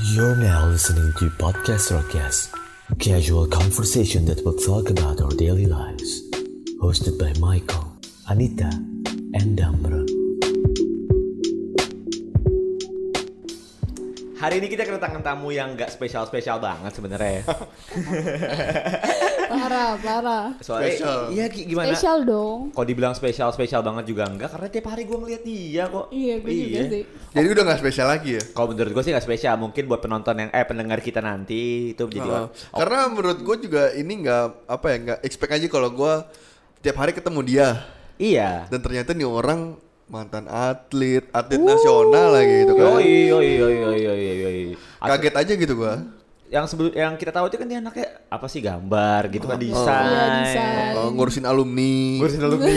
You're now listening to Podcast Rockcast, a casual conversation that will talk about our daily lives. Hosted by Michael, Anita, and Damron. Hari ini kita kedatangan tamu yang nggak spesial-spesial banget sebenarnya. parah parah Soalnya Spesial. iya Ki, gimana? spesial dong Kok dibilang spesial-spesial banget juga enggak karena tiap hari gue ngeliat dia kok. iya gue juga sih Jadi udah gak spesial lagi ya? Kalau menurut gue sih nggak spesial, mungkin buat penonton yang eh pendengar kita nanti itu jadi Heeh. Karena menurut gue juga ini nggak apa ya nggak expect aja kalau gue tiap hari ketemu dia Iya. dan ternyata nih orang mantan atlet atlet nasional lagi gitu kan Yoi yoi yoi yoi yoi yoi. As- kaget aja gitu gue Yang sebelum yang kita tahu itu kan dia anaknya apa sih gambar gitu kan Iya, desain. desain. ngurusin alumni Ngurusin alumni.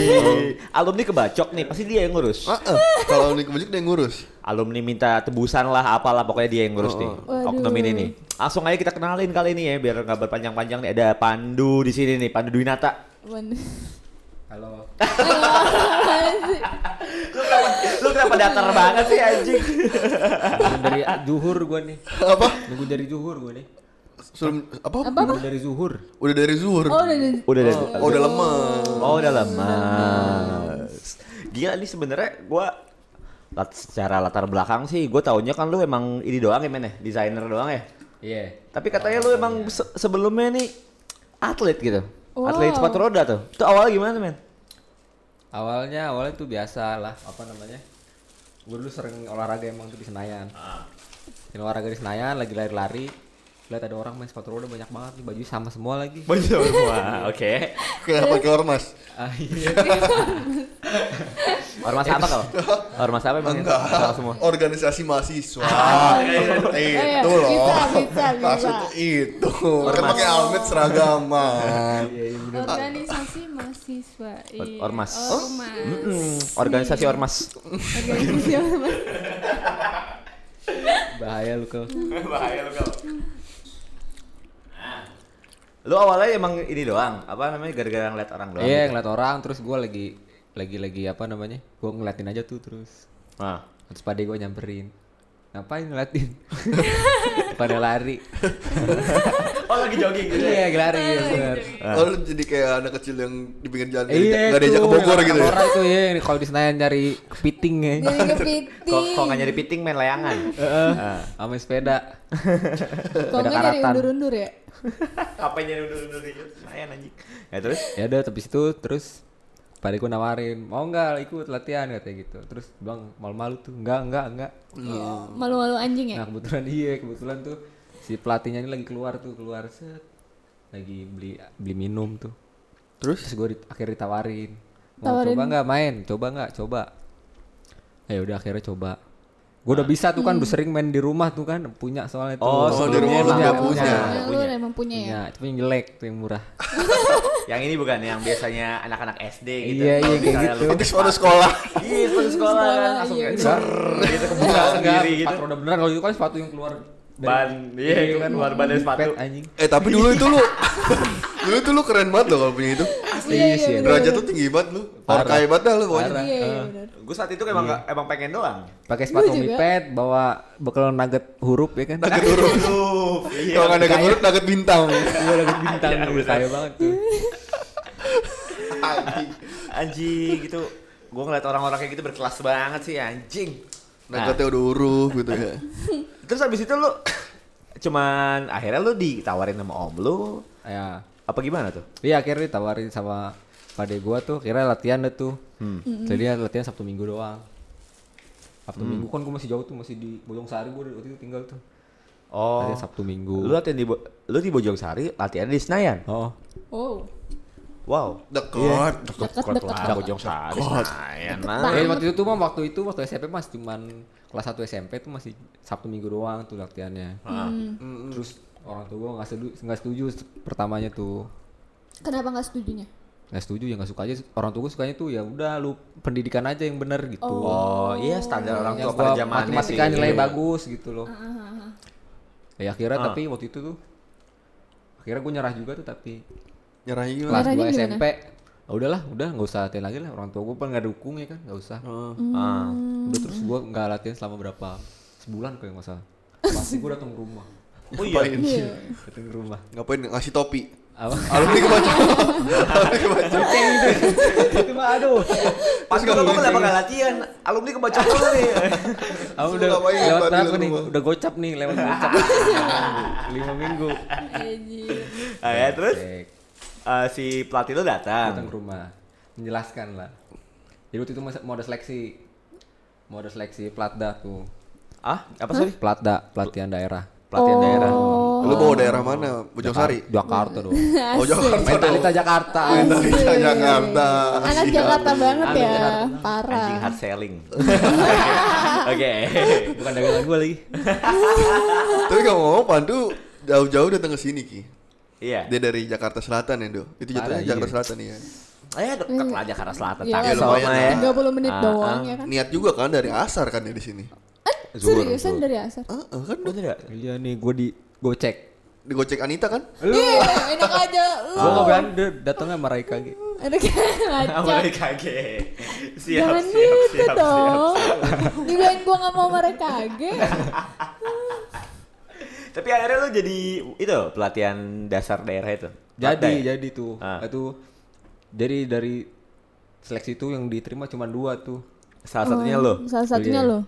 alumni kebacok nih, pasti dia yang ngurus. Ah, eh, kalau alumni kebajik dia yang ngurus alumni minta tebusan lah apalah pokoknya dia yang ngurus nih Waduh. oknum ini nih langsung aja kita kenalin kali ini ya biar nggak berpanjang-panjang nih ada Pandu di sini nih Pandu Dwinata Men- Halo. lu kenapa datar banget sih anjing Nunggu dari zuhur gua nih. apa Nunggu dari zuhur gua nih. Sebelum- apa? apa apa Nunggu dari zuhur. udah dari zuhur oh udah udah. udah deh Oh, udah lemah oh udah lemas gila nih sebenarnya gua lat- secara latar belakang sih gue taunya kan lu emang ini doang ya men ya desainer doang ya Iya. tapi katanya lu emang se- sebelumnya nih atlet gitu Wow. atlet sepatu roda tuh itu awal gimana men Awalnya awalnya tuh biasa lah, apa namanya? Gua dulu sering olahraga emang tuh di Senayan. Dan olahraga di Senayan lagi lari-lari. Lihat ada orang main sepatu roda banyak banget nih baju sama semua lagi. Baju semua, oke. kenapa ke ormas Ah, iya. Ormas apa kalau? Ormas apa ya? emang? enggak Salah semua. organisasi mahasiswa iya. itu loh Bisa, bisa, bisa. maksudnya itu kan pakai helmet seragaman organisasi mahasiswa iya. Oh, Ormas. ormas Mm-mm, Organisasi ormas. organisasi ormas Bahaya lu ke. Lu awalnya emang ini doang, apa namanya gara-gara ngeliat orang doang. Iya, ngeliat orang terus gua lagi lagi lagi apa namanya? Gua ngeliatin aja tuh terus. Nah, Terus pada gue nyamperin. Ngapain ngeliatin? pada lari. oh lagi jogging gitu. ya? Iya, lari ya, bener. Lalu Oh, jadi kayak anak kecil yang di pinggir jalan nggak Iya, diajak- nggak diajak ke tuh, Bogor orang gitu ya. Orang itu ya, yang kalau di Senayan nyari kepiting ya. dari Kok kepiting kok nggak nyari piting main layangan. Ah. Nah, Sama sepeda. kalau nggak dari karatan. undur-undur ya Apa yang nyari undur-undur gitu? Layan anjing. Ya terus? Ya udah, tapi itu terus pada gue nawarin, mau nggak ikut latihan katanya gitu. Terus dia bilang malu-malu tuh, enggak, enggak, enggak. malu-malu anjing ya Nah kebetulan iya, kebetulan tuh si pelatihnya ini lagi keluar tuh, keluar set. Lagi beli beli minum tuh. Terus? Terus gue akhirnya ditawarin. Mau Tawarin. coba nggak main? Coba nggak? Coba. Ya udah akhirnya coba. Gue Ah. udah bisa tuh kan, Hmm. udah sering main di rumah tuh kan, punya soalnya tuh. Oh, Oh, iya, di rumah lu Punya, juga punya. Nah, lu punya. emang punya ya Punya, tapi yang jelek tuh yang murah. Yang ini bukan yang biasanya anak-anak SD gitu. Iya, iya, kayak Misalnya lu- gitu. Itu sepatu sekolah. Iya, sepatu sekolah kan langsung Iya, kayak iya. cer gitu kebuka sendiri gitu. Sepatu roda beneran kalau itu kan sepatu yang keluar dari- Ban, iya itu kan luar badan pet, sepatu. anjing. Eh tapi dulu itu lu dulu itu lu keren banget loh kalau punya itu. iya iya bener, Derajat bener. tuh tinggi banget lu. Parkai banget dah lu pokoknya. iya iya bener. Gue saat itu Iya. emang nggak- emang pengen doang. Pakai sepatu juga. mipet, bawa bekal nugget huruf ya kan. Nugget huruf. Iya, Kalau nggak nugget huruf nugget bintang. Iya, nugget bintang gitu kaya banget tuh. Anjing. anjing gitu gue ngeliat orang-orang kayak gitu berkelas banget sih anjing nah, Nuggetnya udah huruf gitu ya. terus habis itu lu cuman akhirnya lu ditawarin sama om lu Ya. apa gimana tuh Iya akhirnya ditawarin sama pade gua tuh, kira latihan deh tuh. Jadi ya, latihan Sabtu Minggu doang. Sabtu Minggu kan gua masih jauh tuh, masih di Bojong Sari gua waktu itu tinggal tuh. oh Latihan Sabtu Minggu. lu latihan di Bo- lu di Bojongsari latihan di Senayan Oh. wow wow Iya. Dekat. dekat Kuat dekat lah Bojongsari Senayan nah. Eh, waktu itu mah waktu itu waktu SMP mas cuman kelas 1 SMP tuh masih Sabtu Minggu doang tuh latihannya. Terus orang tua gua nggak setuju, nggak setuju se- pertamanya tuh kenapa nggak setujunya nggak setuju ya nggak suka aja orang tua gua sukanya tuh ya udah lu pendidikan aja yang bener gitu. oh iya standar orang tua Yang Ya, gua pada zamannya sih matematika nilai bagus gitu loh. Ya akhirnya tapi waktu itu tuh akhirnya gue nyerah juga tuh tapi Nyerahnya gimana? kelas Nyerahnya 2 gimana? SMP ah, udahlah udah nggak usah latihan lagi lah orang tua gue pengen nggak dukung ya kan nggak usah Ah. Udah terus gue nggak latihan selama berapa sebulan kayak nggak salah. pasti gue datang ke rumah Oh iya. Ngapain? Iya. datang ke rumah Ngapain ngasih topi? apa Alumni kebaca. Alumni kebaca. itu mah aduh Pas kalau kamu kenapa gak latihan? Alumni kebaca dulu nih. Aku Terus lu udah ngapain lewat tadi berapa lu nih? rumah? Udah gocap nih, lewat gocap. Lima minggu. Anjir. Ah, ya, terus Cek, eh, si pelatih lo datang ke datang. rumah, menjelaskan lah. Jadi waktu itu masa- mau ada seleksi, mau ada seleksi platda tuh. Ah, apa sih? Platda, pelatihan daerah. Pelatihan Oh, daerah. Lu bawa daerah mana? Bojongsari. Jakarta dong. Oh, Jakarta. Mentalita Jakarta. Mentalita Jakarta. Iya, Iya. Anak Siap. Jakarta banget Anak ya. Jakarta. Ah, Anjing Parah. hard selling. Oke. Bukan dagangan gue lagi. Tapi kalau ngomong Pandu jauh-jauh datang ke sini Ki. Iya. Dia dari Jakarta Selatan ya, Do. Itu jatuhnya Parah, iya. Jakarta Selatan ya. Eh dekat lah Jakarta Selatan. Iya, Tangsel mah lumayan lah. ya. 30 menit Ah, doang ah. ya kan. Niat juga kan dari Iya. asar kan ya di sini. Zuhur, Seriusan zuhur. dari asar. Ah, ah, kan Bener ya? Iya nih, gue di gocek. digocek Anita kan? Iya, enak aja. Lu. Gue nggak berani dia datangnya sama Raika gitu. Enak aja. Mulai kaget. Siap, Jangan siap, gitu siap, siap. dong. Dibilang gua gak mau mereka kaget. Tapi akhirnya lo jadi itu pelatihan dasar daerah itu. Jadi, Partai. jadi tuh. Ah. Itu jadi dari seleksi itu yang diterima cuma dua tuh. salah satunya lo. Salah satunya Iya. lo.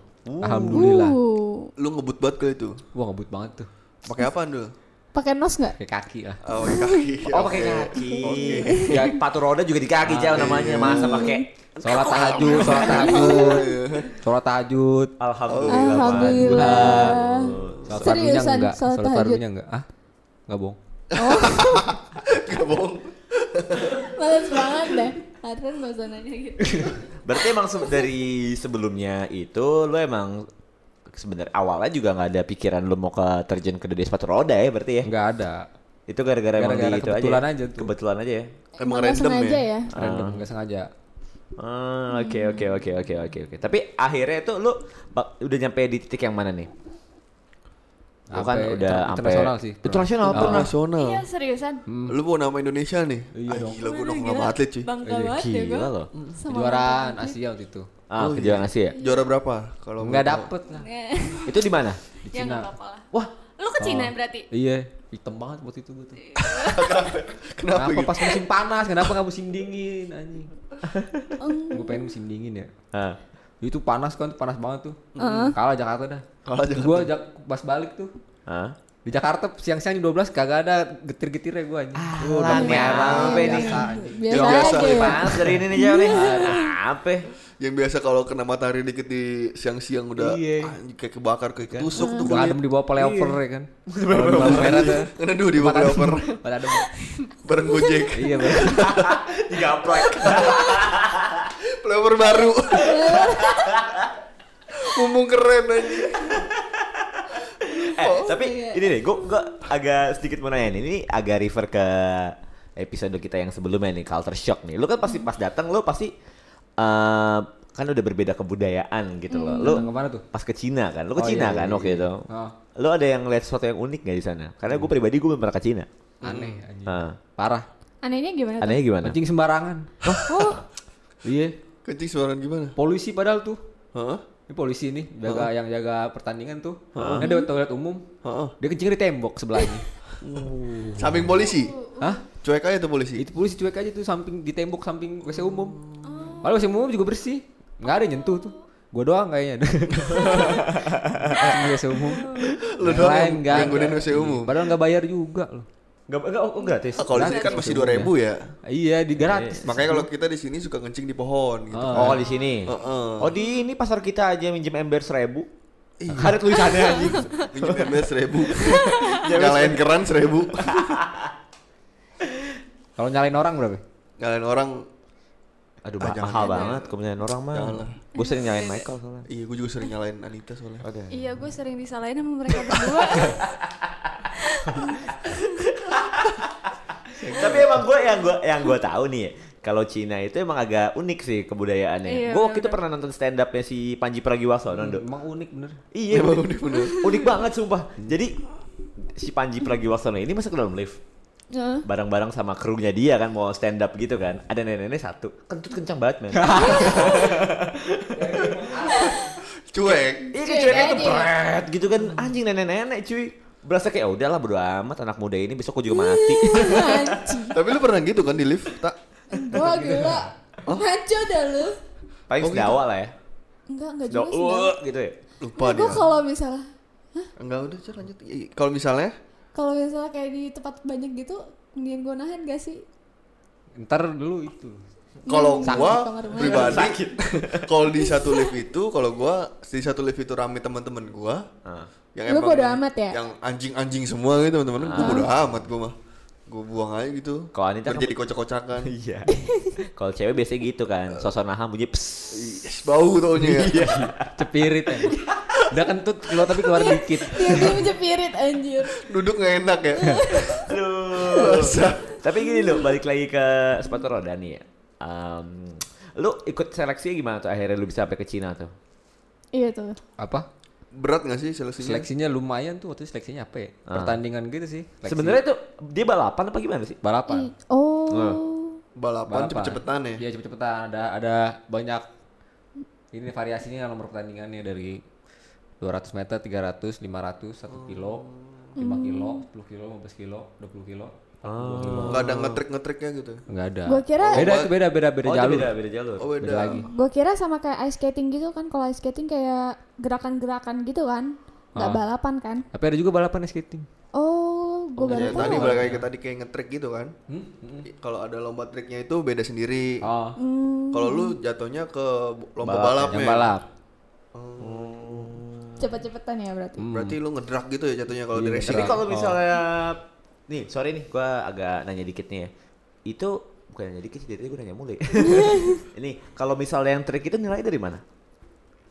Alhamdulillah. Uh, Lu ngebut banget kali itu. Wah ngebut banget tuh. Pakai apaan, Do? Pakai nos nggak? Kayak kaki lah. Oh, pakai kaki. Oh pakai kaki. Ya patu roda juga di kaki jauh namanya masa pakai. Sholat tahajud, sholat tahajud, sholat tahajud. Alhamdulillah. Alhamdulillah. Sholat Seriusan, fardunya enggak, sholat sholat tahajud? fardunya enggak. Ah, enggak bohong. Gak bohong. Males banget deh. Harun gak usah nanya gitu. Berarti emang se- dari sebelumnya itu lo emang sebenarnya awalnya juga nggak ada pikiran lo mau ke terjun ke dunia sepatu roda ya berarti Eh. ya? Enggak ada. Itu gara-gara emang Gara-gara di itu kebetulan aja. ya? aja tuh. Kebetulan aja ya. Emang Nggak random sengaja ya. ya. Random, enggak sengaja. Ah, Oke Hmm. oke oke oke oke oke. Tapi akhirnya itu lo bak- udah nyampe di titik yang mana nih? Lo kan udah Sampai inter- sampai internasional sih, pernah. Internasional Oh. pernah. Nasional. Iya seriusan. Lu bawa nama Indonesia nih. Hmm. Iya Ah, dong. Gila gua udah Aduh, nama gila. atlet Iya, cuy. Bangga banget ya gue. Gila lo. Hmm. Kejuaraan Asia waktu itu. Ah, iya. kejuaraan Asia. Juara berapa? Kalau Enggak boleh dapet lah. Itu di mana? Di Ya Cina. nggak apa-apa lah. Nah. Wah, Lu Oh. ke Cina berarti? Iya, hitam banget waktu itu gue tuh. tahu. Kenapa, Kenapa gitu? pas musim panas? Kenapa nggak musim dingin? Anjing. gue pengen musim dingin ya. Ah. Itu panas kan, panas banget tuh. Kalah Jakarta dah. Kalah Jakarta. Gue pas balik tuh ah. di Jakarta siang-siang di 12 kagak ada getir-getirnya gue anjing. Ah. Gua Lah, udah nih merah, apa ini? biasa, anjing. Biasa Yang biasa aja Lebih ya. panas dari ini nih jauh nih. Apa? Yang biasa kalau kena matahari dikit di siang-siang udah Iya. anjing, kayak kebakar kayak ketusuk tuh Gua kulit. adem di bawah flyover ya kan. Kalau di lampu merah tuh. Kena dulu di tempat adem. over Tempat adem. bareng Gojek. Iya, bener. Digaplek. Flyover baru. Umum keren aja. Eh, Oh, tapi iya, ini nih, gua, gua agak sedikit mau nanya nih. Ini agak refer ke episode kita yang sebelumnya nih, culture shock nih. Lu kan pasti pas datang lu pasti eh kan udah berbeda kebudayaan gitu loh. Lu Datang kemana tuh? pas ke Cina kan? Lu Hmm, Oh, ke Cina iya, iya, kan iya. waktu itu? Oh. Lu ada yang lihat sesuatu yang unik gak di sana? Karena gue pribadi gue belum pernah ke Cina. Aneh anjing. Nah, Parah. Anehnya gimana tuh? anehnya gimana? Kencing sembarangan. Iya. Kencing suaran gimana? Polisi padahal tuh. Hah? Ini polisi nih, jaga yang jaga pertandingan tuh. Nah, dia toilet umum. Heeh. Dia kencing di tembok sebelahnya. Samping polisi. Hah? Cuek aja tuh polisi. Itu polisi cuek aja tuh samping di tembok samping WC umum. Padahal WC umum juga bersih. Nggak ada yang nyentuh tuh. Gua doang kayaknya. Samping WC umum. Lu Yang doang lain yang nggak- gangguin nggak. WC umum. Padahal nggak bayar juga loh. Gak, gak, oh, oh, gratis. Ah, kalau di sini kan masih 2000 ya. Iya, di gratis. Makanya kalau kita di sini suka kencing di pohon gitu. Oh, di sini. Oh, di ini pasar kita aja minjem ember seribu. Iya. Iya. Ada tulisannya anjing. Pinjam MB seribu Nyalain keran seribu Kalau nyalain orang berapa? Nyalain orang Aduh, Ah, ma- jangan, mahal jangan. banget kemudian orang mah. Jangan lah. Gue sering nyalain Michael soalnya. Iya gue juga sering nyalain Anita soalnya Oke. Iya gue sering disalahin sama mereka berdua. Eh, Tapi emang gue yang gue yang gue tahu nih ya, kalau Cina itu emang agak unik sih kebudayaannya. Iya, gue waktu itu pernah nonton stand upnya si Panji Pragiwaksono, Dok. Emang unik bener. Iya, unik Emang unik bener. Unik banget sumpah. Jadi si Panji Pragiwaksono ini masuk ke dalam lift. Heeh. bareng-bareng sama krunya dia kan mau stand up gitu kan ada nenek-nenek satu kentut kencang banget men cuek Iya Cuek kecuali itu aja. pret gitu kan anjing nenek-nenek cuy. Berasa kayak "Oh, udahlah bodo amat anak muda ini besok gue juga mati. Anjing. tapi lu pernah gitu kan di lift tak Wah gila. Ngaco dah lu. Paling Oh, gitu. sedawa lah ya. Enggak, enggak juga Sedawa sih. "Uh," gitu ya. lupa dia Gue Iya, kalau misalnya enggak udah Cah, lanjut Iya, iya. kalau misalnya kalau misalnya kayak di tempat banyak gitu, mendingan gue nahan gak sih? Ntar dulu itu. kalau Hmm. Sakit gua kamar mandi. pribadi kalau di satu lift itu kalau gua di satu lift itu rame teman-teman gua Ah. yang Lu emang- bodo amat ya? Ah. yang anjing-anjing semua gitu teman-teman gua bodo amat gua mah gua buang aja gitu Kalau Anita Biar kan- jadi kocak-kocakan Iya. Kalau cewek biasanya gitu kan, sosok nahan bunyi ps. Yes, bau taunya ya Iya. Cepirit ya. Udah kentut keluar tapi keluar dikit. Dia dia menjepirit anjir. duduk nggak enak ya Aduh. Basah. Tapi gini loh, balik lagi ke sepatu roda nih ya. Em, lu ikut seleksi gimana tuh akhirnya lu bisa sampai ke Cina tuh? Iya tuh. Apa? berat nggak sih seleksinya Seleksinya lumayan tuh waktu itu seleksinya apa ya? Pertandingan gitu sih. seleksi. Sebenarnya tuh dia balapan apa gimana sih? balapan. Oh. Nah. Oh, balapan cepet-cepetan ya Iya cepet-cepetan. Ada ada banyak ini variasinya nomor pertandingannya dari 200 meter, 300, 500, 1 kilo, Hmm. 5 kilo, 10 kilo, 15 kilo, 20 kilo, 40 kilo. nggak ada ngetrik-ngetriknya gitu Enggak ada. Gua kira- Nah. beda itu beda beda beda Oh, itu jalur. Beda, beda jalur. oh Beda beda lagi. Gue kira sama kayak ice skating gitu kan, kalau ice skating kayak gerakan-gerakan gitu kan, Nah. nggak balapan kan? Tapi ada juga balapan ice skating. Oh, gue baru Ya, tahu. tadi balik lagi ke tadi kayak ngetrik gitu kan Hmm? kalau ada lomba triknya itu beda sendiri Oh, Hmm, kalau lu jatuhnya ke bu- lomba ya? yang balapnya balap. Cepet-cepetan ya berarti. Hmm. berarti lu ngedrak gitu ya jatuhnya kalau Iya, di racing Jadi kalau misalnya nih, sorry nih gua agak nanya dikit nih ya. Itu bukan nanya dikit sih, dari tadi gua nanya mulu. ya. Ini kalau misalnya yang trik itu nilai dari mana?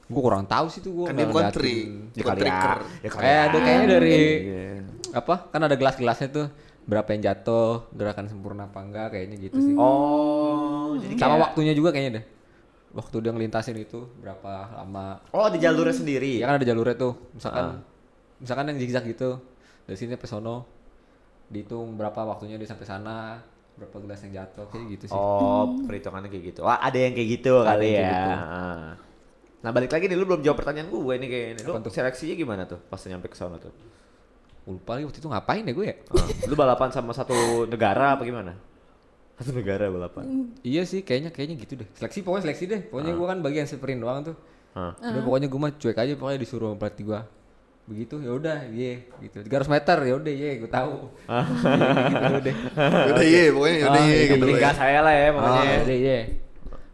Gua kurang tahu sih tuh gua. kan dia nggak bukan ngeliatin. trik Ya bukan kali ya. tricker Ya kali Eh, ya. ada kayaknya dari apa? Kan ada gelas-gelasnya tuh. Berapa yang jatuh, gerakan sempurna apa enggak kayaknya gitu sih. Oh, jadi Sama kayak- waktunya juga kayaknya deh. Waktu dia ngelintasin itu berapa lama. Oh, ada jalurnya sendiri. Iya kan ada jalurnya tuh. Misalkan misalkan yang zigzag gitu. Dari sini sampai sono dihitung berapa waktunya dia sampai sana, berapa gelas yang jatuh kayak gitu sih. Oh, perhitungannya kayak gitu. Wah, ada yang kayak gitu kali yang ya. kayak gitu. Ah. Nah, balik lagi nih lu belum jawab pertanyaan gue ini kayaknya. Lu Apa tuh? seleksinya gimana tuh pas nyampe ke sana tuh? Gua Lupa lagi waktu itu ngapain ya gue ya? Ah, lu balapan sama satu negara apa gimana? Satu negara balapan. Iya sih, kayaknya kayaknya gitu deh. Seleksi pokoknya seleksi deh. Pokoknya gua kan bagian sprint doang tuh. Hah. Udah pokoknya gua mah cuek aja pokoknya disuruh sama pelatih gua. Begitu ya udah, iya gitu. 300 meter ya udah, iya gua tahu. Iya, gitu deh. udah iya pokoknya udah Ah, iya yang gitu Ini penting lah ya. enggak saya lah ya Ah, pokoknya. iya, iya.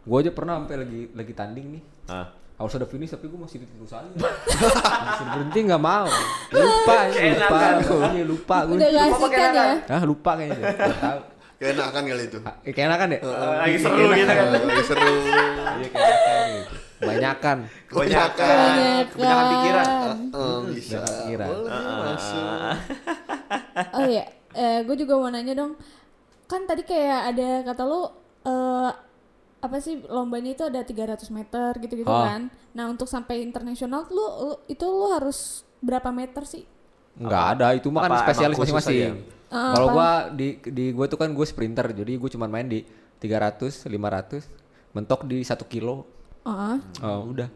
Gua aja pernah sampai lagi lagi tanding nih. Ah. Harus ada finish tapi gue masih diterus aja. masih berhenti nggak mau. Lupa, ya, lupa, Iya, lupa gue. Udah gak asik kan ya? Ah lupa kayaknya. deh. Nggak Tahu. keenakan kan kali itu Iya, Ah, eh, Keenakan ya? Lagi seru gitu kan. Lagi seru Iya keenakan gitu. Banyakan. kebanyakan Kebanyakan. kebanyakan pikiran. Eh, bisa Udah Hmm, kepikiran. boleh Ah, langsung Oh iya, eh, gue juga mau nanya dong. Kan tadi kayak ada kata lu eh, apa sih lombanya itu ada 300 meter gitu-gitu Oh. kan. Nah, untuk sampai internasional lu, lu- itu lu harus berapa meter sih? Enggak ada, itu mah kan Apa emang spesialis khusus aja? masing-masing. Ah, Kalau gua di di gua tuh kan gue sprinter, jadi gue cuma main di 300, 500, mentok di 1 kilo. Heeh. Oh, udah.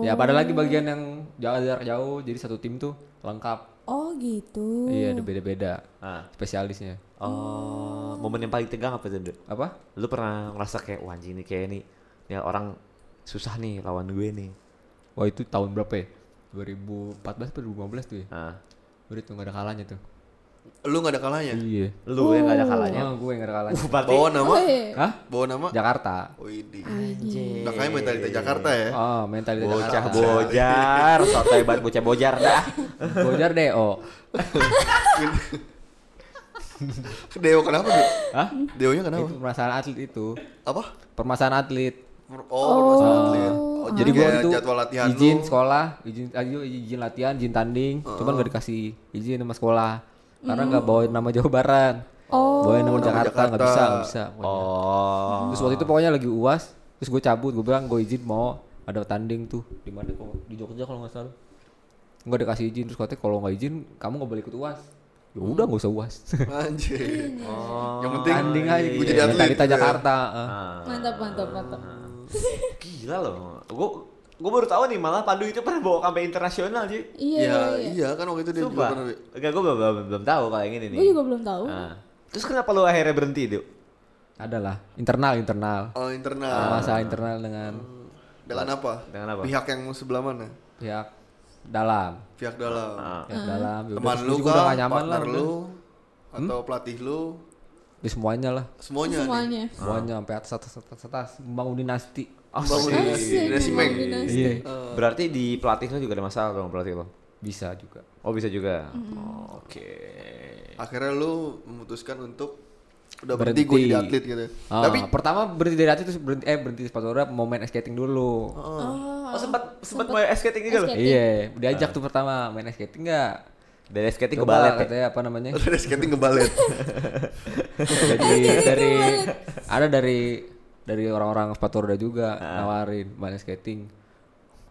Ya, pada lagi bagian yang jarak jarak jauh, jadi satu tim tuh lengkap. Oh gitu. Iya, ada beda-beda Ah. spesialisnya. Oh, momen yang paling tegang apa tuh? Dok? Apa? Lu pernah ngerasa kayak wah anjing nih kayak nih, nih orang susah nih lawan gue nih. Wah, itu tahun berapa ya? 2014 atau 2015 tuh ya? Ah. Udah tuh gak ada kalahnya tuh. lu nggak ada kalahnya Iya. Lu yang gak ada kalahnya. Oh, gue yang gak ada kalahnya. Uh, berarti bawa nama Oh, iya. Hah? bawa nama Oh, Jakarta. Widih. Makanya mentalitas Jakarta ya. Oh, mentalitas bocah Jakarta. bojar, soto hebat bocah bojar dah. Bojar DO. Deo kenapa, Deo? Hah? Deonya kenapa? Itu permasalahan atlet itu. Apa? Permasalahan atlet. Oh, permasalahan atlet. Oh, jadi gua kayak itu jadwal latihan izin lu. sekolah, izin ayo izin latihan, izin tanding, cuman gak dikasih izin sama sekolah. Karena nggak bawa nama Jawa Barat. Oh. Bawain nama Nama Jakarta nggak Jakarta. bisa, nggak bisa. pokoknya. Oh. Terus waktu itu pokoknya lagi UAS, terus gue cabut, gue bilang gue izin mau ada tanding tuh di mana kok di Jogja kalau nggak salah. Nggak dikasih izin terus katanya kalau nggak izin kamu nggak boleh ikut UAS. Ya udah nggak usah UAS. Anjir. Oh. Yang penting Iya, tanding aja gua gitu. jadi atlet. Iya, Mentalitas gitu ya. Jakarta. eh. Mantap, mantap, mantap. Gila loh. Gua Gue baru tahu nih malah Pandu itu pernah bawa kampanye internasional sih. Iya, iya, ya, iya. iya kan waktu itu dia Sumpah. juga pernah Enggak, gue belum, belum, belum tahu kalau yang ini nih. Gue juga belum tahu. Ah. Terus kenapa lu akhirnya berhenti, Du? Adalah internal internal. oh, internal. Masalah internal dengan Dengan apa? Dengan apa? Pihak yang sebelah mana? pihak dalam. Pihak dalam. Ah. Pihak dalam. ya udah, Teman terus lu juga kah? udah gak nyaman lah. partner udah. lu? Atau pelatih lu? Di semuanya lah. Semuanya, nih. Semuanya. Ah. Semuanya sampai atas atas atas atas membangun dinasti. Ah, Bangun Asik, di Resimeng. bangun dinasti. Iya. Berarti di pelatih lu juga ada masalah dong pelatih lo? Bisa juga. Oh bisa juga. Oh, Oke. Akhirnya lu memutuskan untuk udah berhenti gue jadi atlet gitu. Ah, Tapi pertama berhenti dari atlet terus berhenti eh berhenti di sepatu roda mau main ice skating dulu. Oh, sempat sempat mau ice skating juga lo? Ice skating. Iya, Ah. diajak tuh pertama main ice skating enggak? Dari ice skating ke Coba balet ya? katanya apa namanya? ada skating ngebalet. dari dari ada dari dari orang-orang sepatu roda juga Ah. nawarin main skating.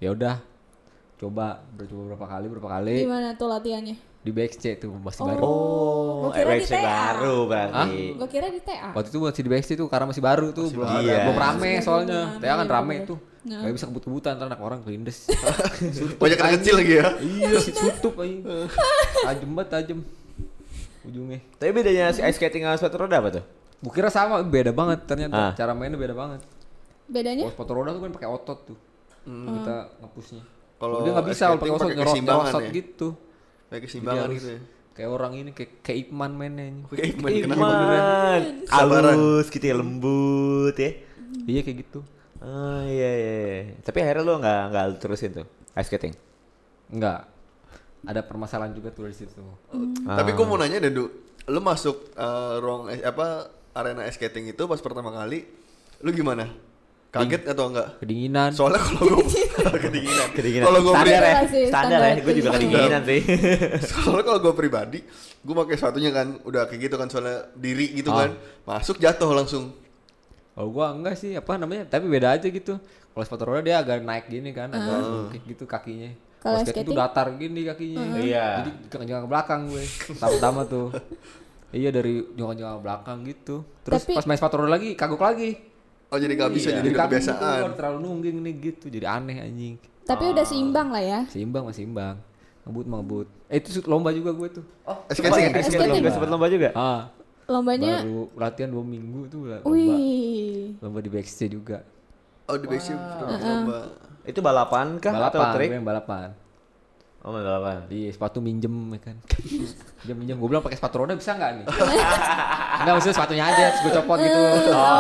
Ya udah, coba coba berapa kali berapa kali Gimana tuh latihannya? di BXC tuh masih baru. Oh, Gua kira di erection TA. baru berarti. Gue kira di TA. Waktu itu masih di BXC tuh karena masih baru tuh belum baru. ada, Iya. belum rame Masih soalnya. belum rame, Saya kan iya, rame bener. tuh. Nah. Gak bisa kebut-kebutan ntar anak orang kelindes. Banyak anak kecil lagi ya. iya, si tutup aja. Tajem banget tajem. Ujungnya. Tapi bedanya si ice skating sama sepatu roda apa tuh? Gua kira sama, beda banget Ah. ternyata. Cara mainnya beda banget. Bedanya? Kalau sepatu roda tuh kan pakai otot tuh. Hmm, Kita ngepusnya. Kalau Kalau dia nggak ice bisa pakai skating otot pakai nyerot keseimbangan nyerosot ya? gitu. Kayak Jadi kesimbangan harus gitu ya. Kayak orang ini kayak kayak Iqman mainnya. ini. Oke, Iman kenapa beneran? Iman, Kesabaran. ya? halus gitu ya lembut ya. Iya kayak gitu. Oh iya iya. iya. Tapi akhirnya lo nggak nggak lu terusin tuh ice skating. Enggak. Ada permasalahan juga tuh di situ. Tapi gue mau nanya deh, Du. Lu masuk eh, ruang es- apa arena ice skating itu pas pertama kali, lu gimana? Kaget atau enggak? Kedinginan. Soalnya kalau gue kedinginan, Kedinginan. Kalau gue standar ya, Standar sih, standar ya. standar. Gue juga kedinginan sih. Soalnya kalau gue pribadi, gue pakai sepatunya kan udah kayak gitu kan soalnya diri gitu kan, masuk jatuh langsung. Kalau gua enggak sih apa namanya? Tapi beda aja gitu. Kalau sepatu roda dia agak naik gini kan, agak kayak gitu kakinya. Kalau Kalau skating tuh skating? datar gini kakinya. Iya. Jadi jangan ke belakang gue. Pertama-tama tuh. Iya dari jangan-jangan ke belakang gitu. Terus Tapi- pas main sepatu roda lagi kagok lagi. Oh jadi nggak bisa jadi udah kaku kebiasaan. tuh, kalau terlalu nungging nih gitu jadi aneh anjing Tapi udah seimbang lah ya. seimbang masih seimbang ngebut mah ngebut eh itu shoot lomba juga gue tuh Oh, Ice skating. ice skating. Nggak sempet lomba juga. ah Lombanya, baru latihan dua minggu tuh lah lomba wih. lomba di backstage juga Oh di backseat coba. Itu balapan kah atau balapan trik? gue yang balapan Oh main balapan. di sepatu minjem ya kan minjem minjem gue bilang pakai sepatu roda bisa nggak nih nggak maksudnya sepatunya aja terus gue copot gitu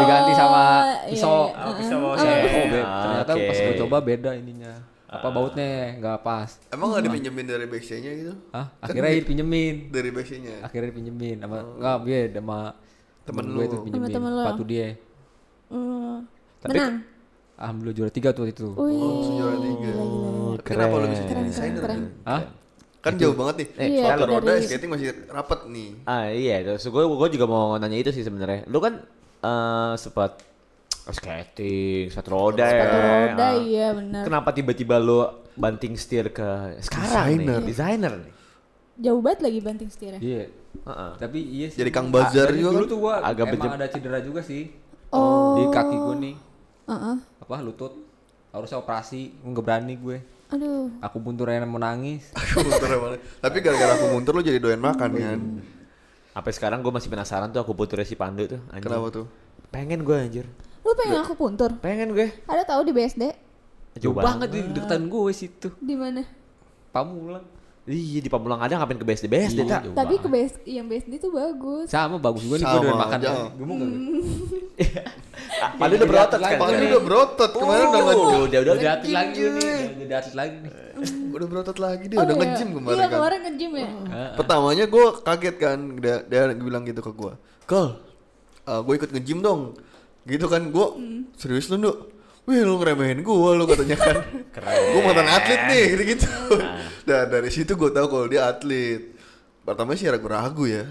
diganti sama iya, pisau iya. bisa bawa oh, saya. Ah, be- ternyata Oke. pas gue coba beda ininya apa bautnya nggak pas Emang nggak dipinjemin dari backseatnya gitu? ah akhirnya dipinjemin Dari backseatnya. akhirnya dipinjemin sama nggak dia sama temen gue itu pinjemin temen lo. sepatu dia Hmm. Menang. alhamdulillah juara tiga tuh waktu itu Wih. Juara tiga. Tapi Kenapa lu bisa jadi desainer? Du? Hah? Kan jauh banget nih. Eh, Iya, Sepatu dari- roda ice skating masih rapet nih. Ah iya, terus gue gue juga mau nanya itu sih sebenarnya. Lu kan eh sempat skating, sepatu roda ya. Sepatu roda Ah. iya benar. Kenapa tiba-tiba lu banting setir ke sekarang Desainer. nih, desainer nih. Jauh banget lagi banting setirnya. iya Heeh. tapi iya sih Jadi Kang Bazar Ah, dari juga dulu kan? tuh gue Agak emang bejem- ada cedera juga sih Oh. di kaki gue nih Heeh. apa lutut harusnya operasi nggak berani gue Aduh. aku mundur aja mau nangis Aku muntur emang. Tapi gara-gara aku muntur lu jadi doyan makan kan. Sampai sekarang gue masih penasaran tuh aku putra si Pandu tuh. anjing. Kenapa tuh? Pengen gue anjir. Lu pengen aku puntur? Pengen gue. Ada tahu di BSD? jauh banget di deketan gue situ Di mana? pamulang Iya di Pamulang ada ngapain ke BSD BSD tak? Jauh Tapi banget. ke BSD, yang BSD tuh bagus. sama bagus gue nih gue Sama, udah makan jauh. gemuk gak gue? Ah, Pandu udah berotot kan? Pandu Iya. udah berotot kemarin udah nge Oh, udah udah udah di atlet lagi nih udah di atlet lagi nih udah berotot lagi dia udah iya. nge-gym kemarin Iya, kan. kemarin nge-gym ya. Pertamanya gue kaget kan dia, dia bilang gitu ke gue, Kal, gue ikut nge-gym dong. Gitu kan gue serius lu Nduk? Wih lu ngeremehin gue lu katanya kan. Gue mantan atlet nih gitu gitu. Nah dari situ gue tahu kalau dia atlet. Pertama sih ragu-ragu ya.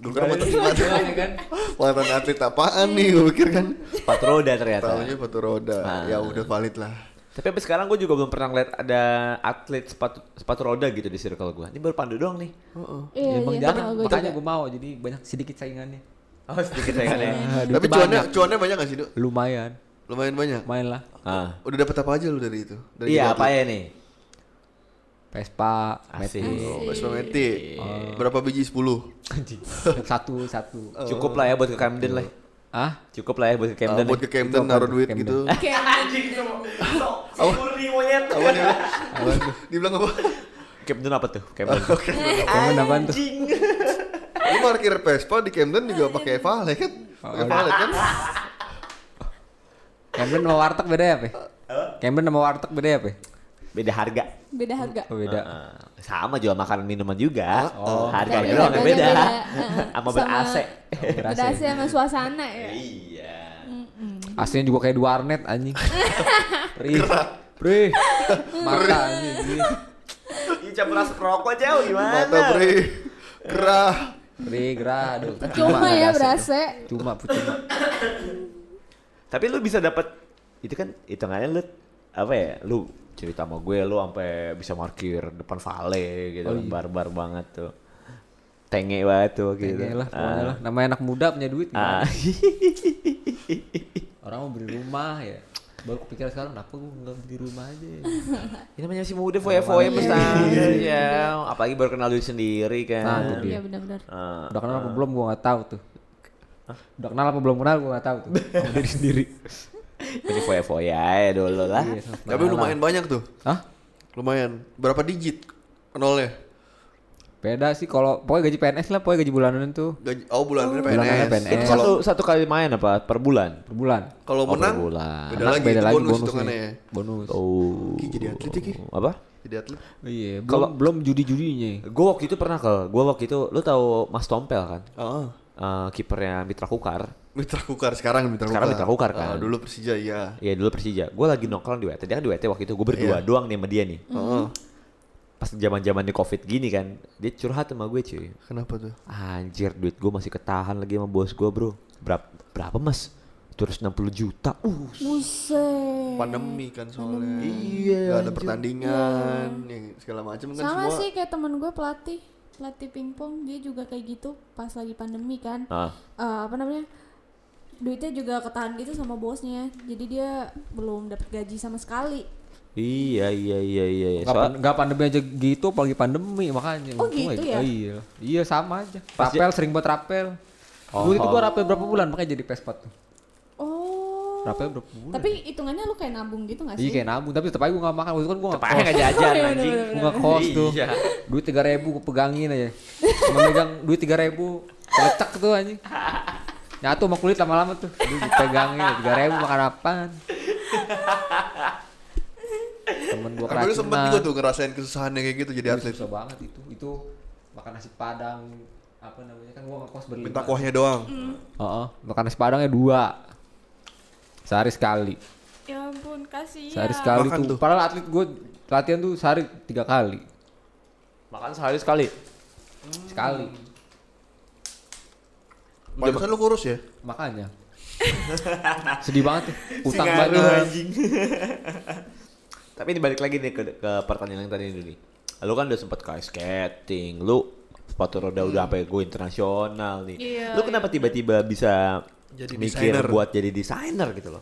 Gue iya. kan mantan, mantan, mantan atlet apaan nih gue pikir kan. Sepatu roda ternyata. Tahunya sepatu Nah. roda. Ya udah valid lah. Tapi sampai sekarang gue juga belum pernah ngeliat ada atlet sepatu sepatu roda gitu di circle gue. Ini baru Pandu doang nih. Iya, Ya, emang iya, jarang tahu gua makanya juga. gue mau jadi banyak sedikit saingannya Oh sedikit saya kan ya. Tapi cuannya, cuannya banyak gak sih, Duk? lumayan lumayan banyak main lah Ah. udah dapat apa aja lu dari itu dari Iya tiga apa atlet? ya nih? Vespa Asik. Matic. oh, Vespa Matic. berapa biji 10 satu satu Cukup lah ya buat ke Camden lah. ah Cukup lah ya buat ke Ah, Camden. buat ke Camden naruh duit gitu Camden. Oke. Murni monyet. apa dia bilang? dibilang apa Camden apa tuh? Camden. Oke. Camden apaan tuh? lu parkir Vespa di Camden juga pakai valet kan pakai valet kan Camden sama warteg beda ya, Pe? Camden sama warteg beda ya, Pe? Beda harga. Beda harga. Oh, beda. Heeh. sama jual makanan minuman juga. Oh. Harganya Tapi doang yang harganya beda. beda. Sama Heeh. Sama- ber-AC. Beda sih sama suasana ya. Iya. Aslinya juga kayak di warnet anjing. Pri. Pri. Mata anjing. gini. Ini campur asap rokok jauh gimana? mata pri kerah Pri gerah aduh. Cuma ya ada AC berasa. tuh. Cuma cuma. Tapi lu bisa dapat itu kan hitungannya lu apa ya? Lu cerita sama gue lu sampai bisa parkir depan vale gitu kan barbar banget tuh. Tenge banget tuh gitu. Gitu. lah, pokoknya Ah. lah. Namanya anak muda punya duit. Ah. gimana? Orang mau beli rumah ya. Baru kepikiran sekarang kenapa gue nggak beli rumah aja. ya? Ah. Ini namanya si muda foya-foya bertanya ya. Apalagi baru kenal duit sendiri kan. Nah, itu dia. Iya benar-benar. Ah. Udah kenal apa belum gue nggak tahu tuh. Udah kenal apa belum kenal gue nggak tahu tuh. Sama Diri sendiri. Ini foya-foya ya dulu lah. Iya, sama tapi kenalan. lumayan banyak tuh Hah? lumayan berapa digit nolnya Beda sih kalau pokoknya gaji PNS lah, pokoknya gaji bulanan tuh gaji oh bulanannya Bulanannya PNS, PNS. Itu kalau satu satu kali main apa per bulan? per bulan. Nah, kalau Oh, per menang bulan. beda Menang lagi itu bonus hitungannya ya Bonus. Oh. Ki, jadi atlet ya, Ki. Apa? jadi atlet Iya, belum Kalau- belum judi-judinya. Gue waktu itu pernah ke, gue waktu itu, lu tahu Mas Tompel kan? ah Eh, kipernya Mitra Kukar. Mitra Kukar sekarang Mitra Sekarang Kukar. Mitra Kukar, Ah, kan? dulu Persija iya. Iya dulu Persija. Gue lagi nongkrong di WT. Dia kan di WT waktu itu gue berdua Iya. doang nih sama dia nih. Heeh. Hmm. Pas zaman zamannya covid gini kan, dia curhat sama gue cuy. Kenapa tuh? Anjir duit gue masih ketahan lagi sama bos gue bro. Berapa, berapa mas? 260 juta. Uh. Buset. Pandemi kan soalnya. Iya, Gak ada pertandingan, Iya. yang segala macam kan Sama semua. sih kayak temen gue pelatih pelatih pingpong dia juga kayak gitu pas lagi pandemi kan Ah. Eh, apa namanya duitnya juga ketahan gitu sama bosnya jadi dia belum dapat gaji sama sekali Iya iya iya iya. iya. Soal, Enggak pandemi aja gitu, apalagi pandemi makanya. Oh, Untung gitu ya? aja. Iya. Iya sama aja. Pas Rapel sering buat rapel. Dulu itu gua rapel berapa bulan makanya jadi pespot tuh. oh Rapel berapa bulan? tapi hitungannya lu kayak nabung gitu gak Iya sih Oh, kayak nabung, tapi tetap aja gua gak makan. Waktu itu kan gua gak Tepatnya nggak Iya, jajan anjing. Gua nggak kos tuh. Iya. Duit 3000 gua pegangin aja. Cuma megang duit 3000 kocak tuh anjing. Nyatu sama kulit lama-lama tuh. Duit dipegangin 3000 makan apaan? Temen gua Tapi lu Kan sempet juga keracunan. tuh ngerasain kesusahannya kayak gitu jadi Itu atlet. susah banget itu. Itu makan nasi padang apa namanya kan gua ngekos berlima. Minta kuahnya doang. Hmm. Heeh, makan nasi padangnya dua. Sehari sekali. Ya ampun, Iya. kasihan. Sehari sekali Makan tuh. tuh. Padahal atlet gua latihan tuh sehari tiga kali. Hmm. Makan sehari sekali. Sekali. Pantesan lu kurus ya? Makanya. Sedih banget tuh. Utang Si ngaruh, banyak. anjing. Tapi ini balik lagi nih ke, ke pertanyaan yang tadi dulu nih. Lu kan udah sempat kayak skating, lu sepatu roda udah sampai go internasional nih. Iya, lu kenapa tiba-tiba bisa Jadi mikir desainer. buat jadi desainer gitu loh?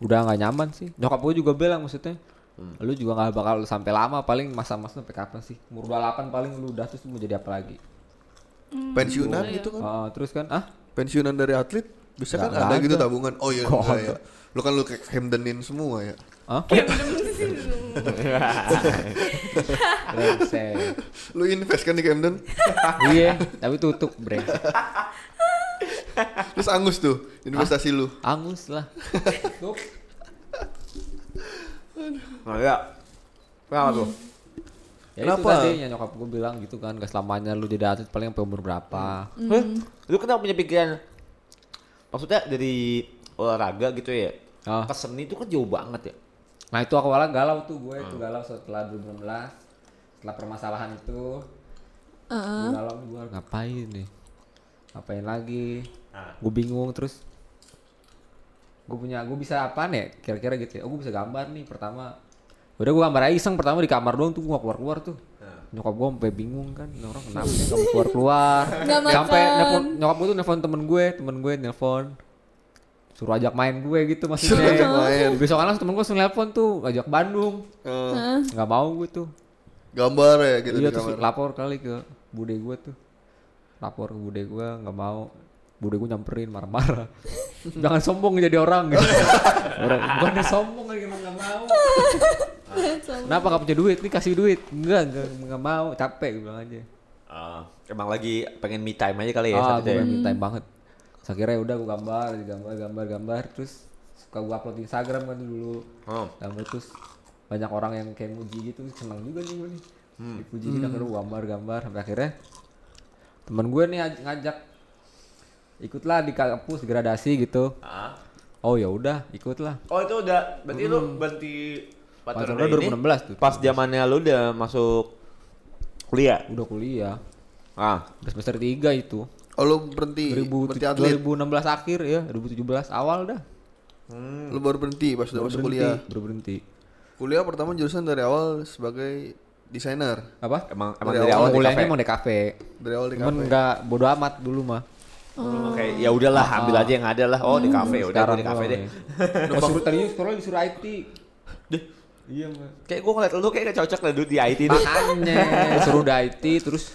Udah nggak nyaman sih. Nyokap gue juga bilang maksudnya. Hmm. Lu juga nggak bakal sampai lama paling masa-masa sampai kapan sih? Umur 28 paling lu udah terus mau jadi apa lagi? Hmm. Pensiunan Iya. gitu kan. Oh, terus kan ah Pensiunan dari atlet bisa kan Nggak ada ada. gitu tabungan. Oh iya, Nggak enggak ada. ya. Lu kan lu kayak Hamdenin semua ya. ah brengsek. Lu invest kan di Camden, Iya, tapi tutup brengsek. terus angus tuh investasi lu. Angus lah. Tutup. Nah, ya. Kenapa tuh? Ya itu Kenapa? tadi yang nyokap gue bilang gitu kan, gak selamanya lu jadi atlet paling sampai umur Hah? berapa. Hmm. Lu kenapa punya pikiran maksudnya dari olahraga gitu ya? Ah. Ke seni itu kan jauh banget ya. Nah itu aku awalnya galau tuh gue itu galau setelah 2016 setelah permasalahan itu gue galau gue harus ngapain nih Ah. ngapain lagi gue bingung terus gue punya gue bisa apa nih kira-kira gitu ya oh gue bisa gambar nih pertama udah gue gambar aja iseng pertama di kamar doang tuh gue keluar keluar tuh nyokap gue sampai bingung kan ini orang kenapa sih kamu keluar keluar Nggak sampai makan. nelfon nyokap gue tuh nelfon temen gue temen gue nelfon suruh ajak main gue gitu Suruh maksudnya ajak main. besok kan langsung temen gue langsung nelpon tuh ajak Bandung Eh, nggak mau gue tuh gambar ya gitu iya di terus kamar. lapor kali ke bude gue tuh lapor ke bude gue nggak mau bude gue nyamperin marah-marah jangan sombong jadi orang gitu. orang gue udah sombong lagi emang nggak mau kenapa nggak punya duit nih kasih duit enggak enggak nggak mau capek gue bilang aja Ah, emang lagi pengen me time aja kali ya ah saat itu ya? gue minta banget Terus akhirnya ya udah gue gambar gambar gambar gambar terus suka gue upload di Instagram kan dulu Oh. gambar terus banyak orang yang kayak muji gitu senang juga nih gue nih dipuji gitu akhirnya gue gambar gambar sampai akhirnya temen gue nih aj- ngajak ikutlah di kampus gradasi gitu Ah. oh ya udah ikutlah Oh itu udah berarti lu berhenti Pacaran Patroli ini 2016 tuh Pas zamannya lu udah masuk kuliah. udah kuliah Ah, Udah semester 3 itu Oh lu berhenti, 2000, berhenti atlet. 2016 akhir ya 2017 awal dah Lu baru berhenti pas udah masuk kuliah. berhenti, Hmm. baru berhenti. Kuliah pertama jurusan dari awal sebagai desainer. apa emang emang Dari dari awal awal di oh, kuliahnya kafe. emang di kafe Dari awal di cuman kafe. nggak bodo amat dulu mah Kayak ya udahlah, Ah. ambil aja yang ada lah. Oh, di kafe udah gua di kafe deh. Pas tadinya sekolah disuruh IT iya mah Kayak gua ngeliat lu kayak gak cocok lah dulu di IT itu. makanya suruh di IT terus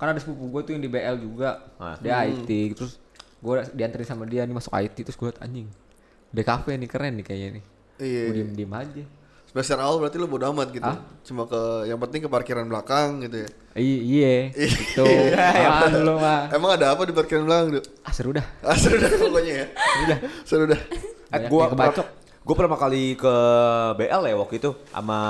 kan ada sepupu gue tuh yang di BL juga Ah. dia IT terus gue dianterin sama dia nih masuk IT terus gue liat, anjing di kafe nih keren nih kayaknya nih Iya. gue diem diem aja Semester awal berarti lu bodo amat gitu. Cuma ke yang penting ke parkiran belakang gitu ya. I- iya itu Iya, apaan lo mah Emang ada apa di parkiran belakang, Duk? ah seru dah Ah, seru dah pokoknya ya. Sudah. Seru dah. Eh, Banyak gua yang kebacok. Gue pertama kali ke BL ya waktu itu sama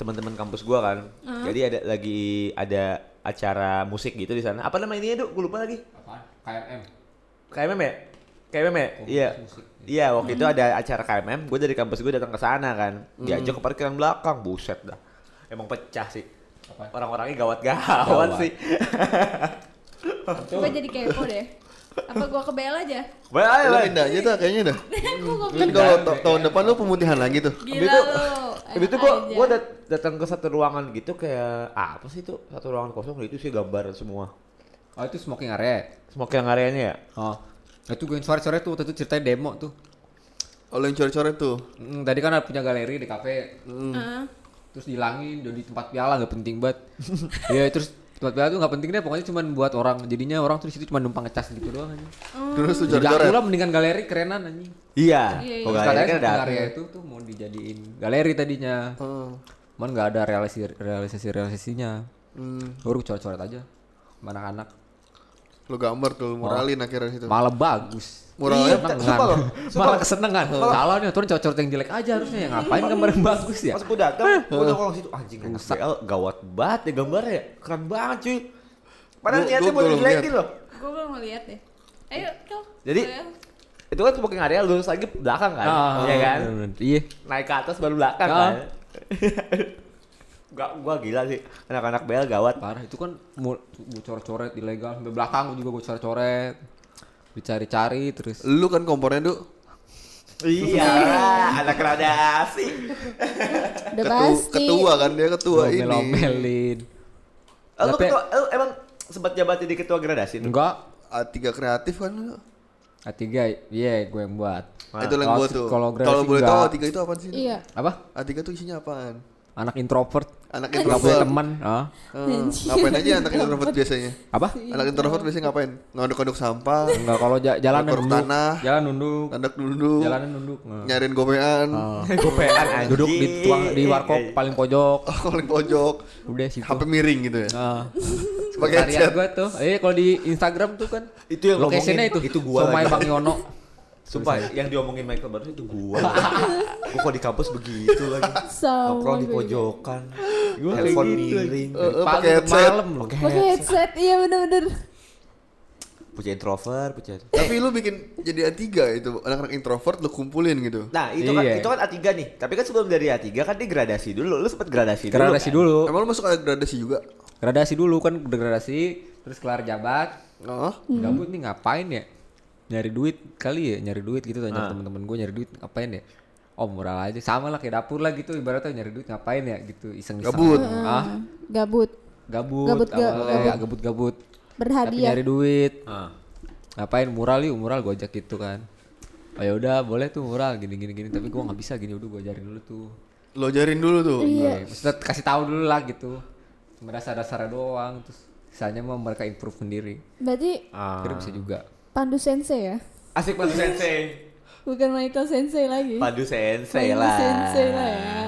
teman-teman kampus gua kan. Jadi ada lagi ada acara musik gitu di sana. Apa nama ininya, Duk? Gua lupa lagi. apaan KMM KMM ya? KMM ya? Oh, Iya. Iya, waktu itu ada acara KMM, gue dari kampus gue datang ke sana kan. Diajak ke parkiran belakang, buset dah. Emang pecah sih. Apa? Orang-orangnya gawat-gawat Gawat. sih. Gue jadi kepo deh. Apa gua ke BL aja? Baik, baik, Lu baik. pindah aja dah kayaknya dah. Aku gua ke Kan kalau ta- tahun depan lu pemutihan lagi tuh. Gila itu- lu. Tapi itu Enak gue aja. gue datang ke satu ruangan gitu kayak ah, apa sih itu? Satu ruangan kosong itu sih gambar semua. oh itu smoking area Semua yang areanya ya. Oh, itu gue yang sore-sore tuh waktu itu ceritanya demo tuh. Oh, lu yang coret-coret tuh. Mm, tadi kan ada punya galeri di kafe, Heeh. terus dihilangin jadi tempat piala nggak penting banget. Iya terus tempat piala tuh nggak penting deh, pokoknya cuma buat orang. Jadinya orang tuh di situ cuma numpang ngecas gitu doang aja. Hmm. Terus lu Jadi aku coret-coret. lah mendingan galeri kerenan anjing. Iya. Iya, iya. Kalau Terus galeri katanya kan ada. smoking area itu tuh mau dijadiin galeri tadinya. Oh. Cuman nggak ada realisasi realisasi realisasinya. Hmm. Baru coret-coret aja. Sama anak-anak. Lu gambar tuh, lu muralin akhirnya situ. Malah bagus. Muralnya Senengan. Malah kesenengan. Salah nih, turun coret-coret yang jelek aja harusnya. Ya, Ngapain gambar yang bagus ya? Pas gue datang, gue nongkrong situ anjing anak BL gawat banget ya gambarnya, ya. keren banget cuy. Padahal Gua- niatnya gua buat belum dijelekin lihat. loh. Gue belum ngeliat deh. Ayo, Kel. Jadi Ayo. itu kan smoking area lurus lagi belakang kan, Oh, Ah, iya kan? bener-bener. Iya. Naik ke atas baru belakang Ah. kan. Gak, gua gila sih anak-anak BL gawat. Parah itu kan mau gue coret-coret ilegal sampai belakang gua juga gue coret-coret. Dicari-cari terus. Lu kan kompornya, Duk. Iya, anak gradasi. Udah Ketu- pasti. ketua kan dia ketua gua ini. Omel-omelin. Eh, Lu Tapi- ketua, lu emang sempat jabat jadi ketua gradasi tuh? Enggak. A3 kreatif kan lu. A3 iya gue yang buat. Ah, Itu yang Nah, Kalau gua si- tuh. Kalau Kalau boleh tahu A3 A3. itu apaan sih? Iya. Apa? A3 tuh isinya apaan? Anak introvert. Anak Gak punya introvert. teman. Ah. Iya. Oh, Eh, ngapain aja anak introvert biasanya? Apa? Anak introvert biasanya ngapain? Ngaduk-ngaduk sampah, Enggak kalau ja- jalan Ekor nunduk. tanah. Jalan nunduk. nanduk dulu, Jalanan nunduk. Nah. Ah. nyariin gopean, Gopean anjing. Iya, Eh, Duduk di tuang di warkop paling pojok. paling pojok, Udah situ. HP miring gitu ya. Ah. Pakai Karya headset. gue tuh. Eh kalau di Instagram tuh kan. Itu yang Locationnya itu. ngomongin, itu gua Somai lagi. Bang Yono. Sumpah yang diomongin Michael baru itu gua. gua kok di kampus begitu lagi. Sama Nongkrong di gue juga. pojokan. Telepon gitu miring. Eh, eh, Pagi pakai ke headset. Malam loh. Pakai headset. Iya bener-bener. Puja introvert, puja. Tapi lu bikin jadi A3 itu anak-anak introvert lu kumpulin gitu. Nah, itu kan Iya. itu kan A3 nih. Tapi kan sebelum dari A3 kan dia gradasi dulu. Lu sempet gradasi dulu. Gradasi kan? dulu. Emang lu masuk ada gradasi juga? Gradasi dulu kan udah gradasi terus kelar jabat. Oh, Hmm. Gabut nih ngapain ya? Nyari duit kali ya, nyari duit gitu tanya temen-temen gue nyari duit ngapain ya? Oh murah aja, sama lah kayak dapur lah gitu ibaratnya nyari duit ngapain ya gitu iseng-iseng. Gabut. Ah, Gabut. gabut. Gabut, ga- awalnya, gabut-gabut. Tapi Berhadiah. nyari duit. Ah. Ngapain mural yuk, mural gue ajak gitu kan. oh ya udah boleh tuh mural gini gini gini tapi gua nggak bisa gini udah gua ajarin dulu tuh Lo ajarin dulu tuh. Ya. Iya. Maksudnya kasih tahu dulu lah gitu. Cuma dasar-dasarnya doang terus sisanya mah mereka improve sendiri. Berarti Ah. Akhirnya bisa juga. Pandu Sensei ya? Asik Padu Sensei. Bukan Michael Sensei lagi. Padu Sensei Pandu lah. Sensei lah ya.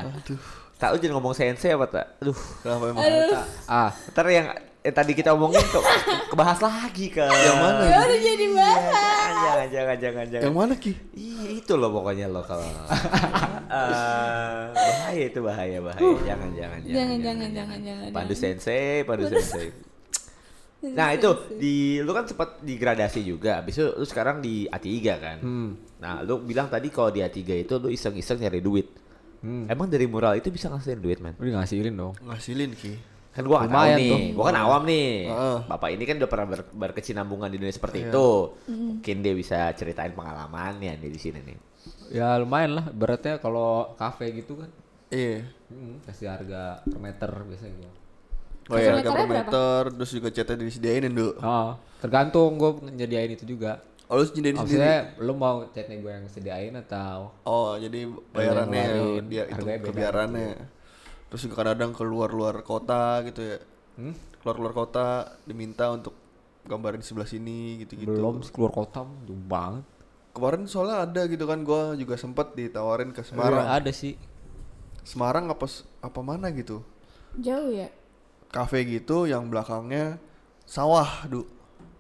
Tak lu jangan ngomong Sensei apa tak? Aduh. Kenapa emang? Aduh, Ah, Ntar yang eh, tadi kita omongin ke, kebahas lagi ke. Yang mana? ya udah jadi Iya. bahas. Jangan, jangan, jangan, jangan. Yang mana Ki? Iya itu loh pokoknya lo kalau Eh, bahaya itu bahaya bahaya jangan jangan jangan Jangan, jangan, jangan, jangan, pandu jangan. sensei pandu sensei nah itu di lu kan sempat digradasi juga abis itu lu sekarang di A3 kan nah lu bilang tadi kalau di A3 itu lu iseng-iseng nyari duit emang dari mural itu bisa ngasihin duit men udah ngasihin dong. Ngasilin Ki. kan gua nggak tahu Lumayan nih tuh. gua kan awam nih Heeh. bapak ini kan udah pernah ber- berkesinambungan di dunia seperti itu mungkin dia bisa ceritain pengalamannya nih di sini nih Ya lumayan lah. Beratnya kalau kafe gitu kan Iya. hmm, kasih harga per meter biasanya gitu. Oh iya, harga Kilometernya per berapa? meter, terus juga catnya disediain dulu. Oh, tergantung gue nyediain itu juga. Oh, lu sediain sendiri. Maksudnya lu mau catnya gue yang sediain atau Oh, jadi bayarannya Yang ngeluarin, dia itu harganya beda kebiarannya. Terus juga kadang keluar-luar kota gitu ya. Hmm? Keluar-luar kota diminta untuk gambarin di sebelah sini gitu-gitu. belum keluar kota jauh banget. Kemarin soalnya ada gitu kan gua juga sempet ditawarin ke Iya, Semarang. ada sih. Semarang apa s- apa mana gitu. Jauh ya? Cafe gitu yang belakangnya sawah, Du.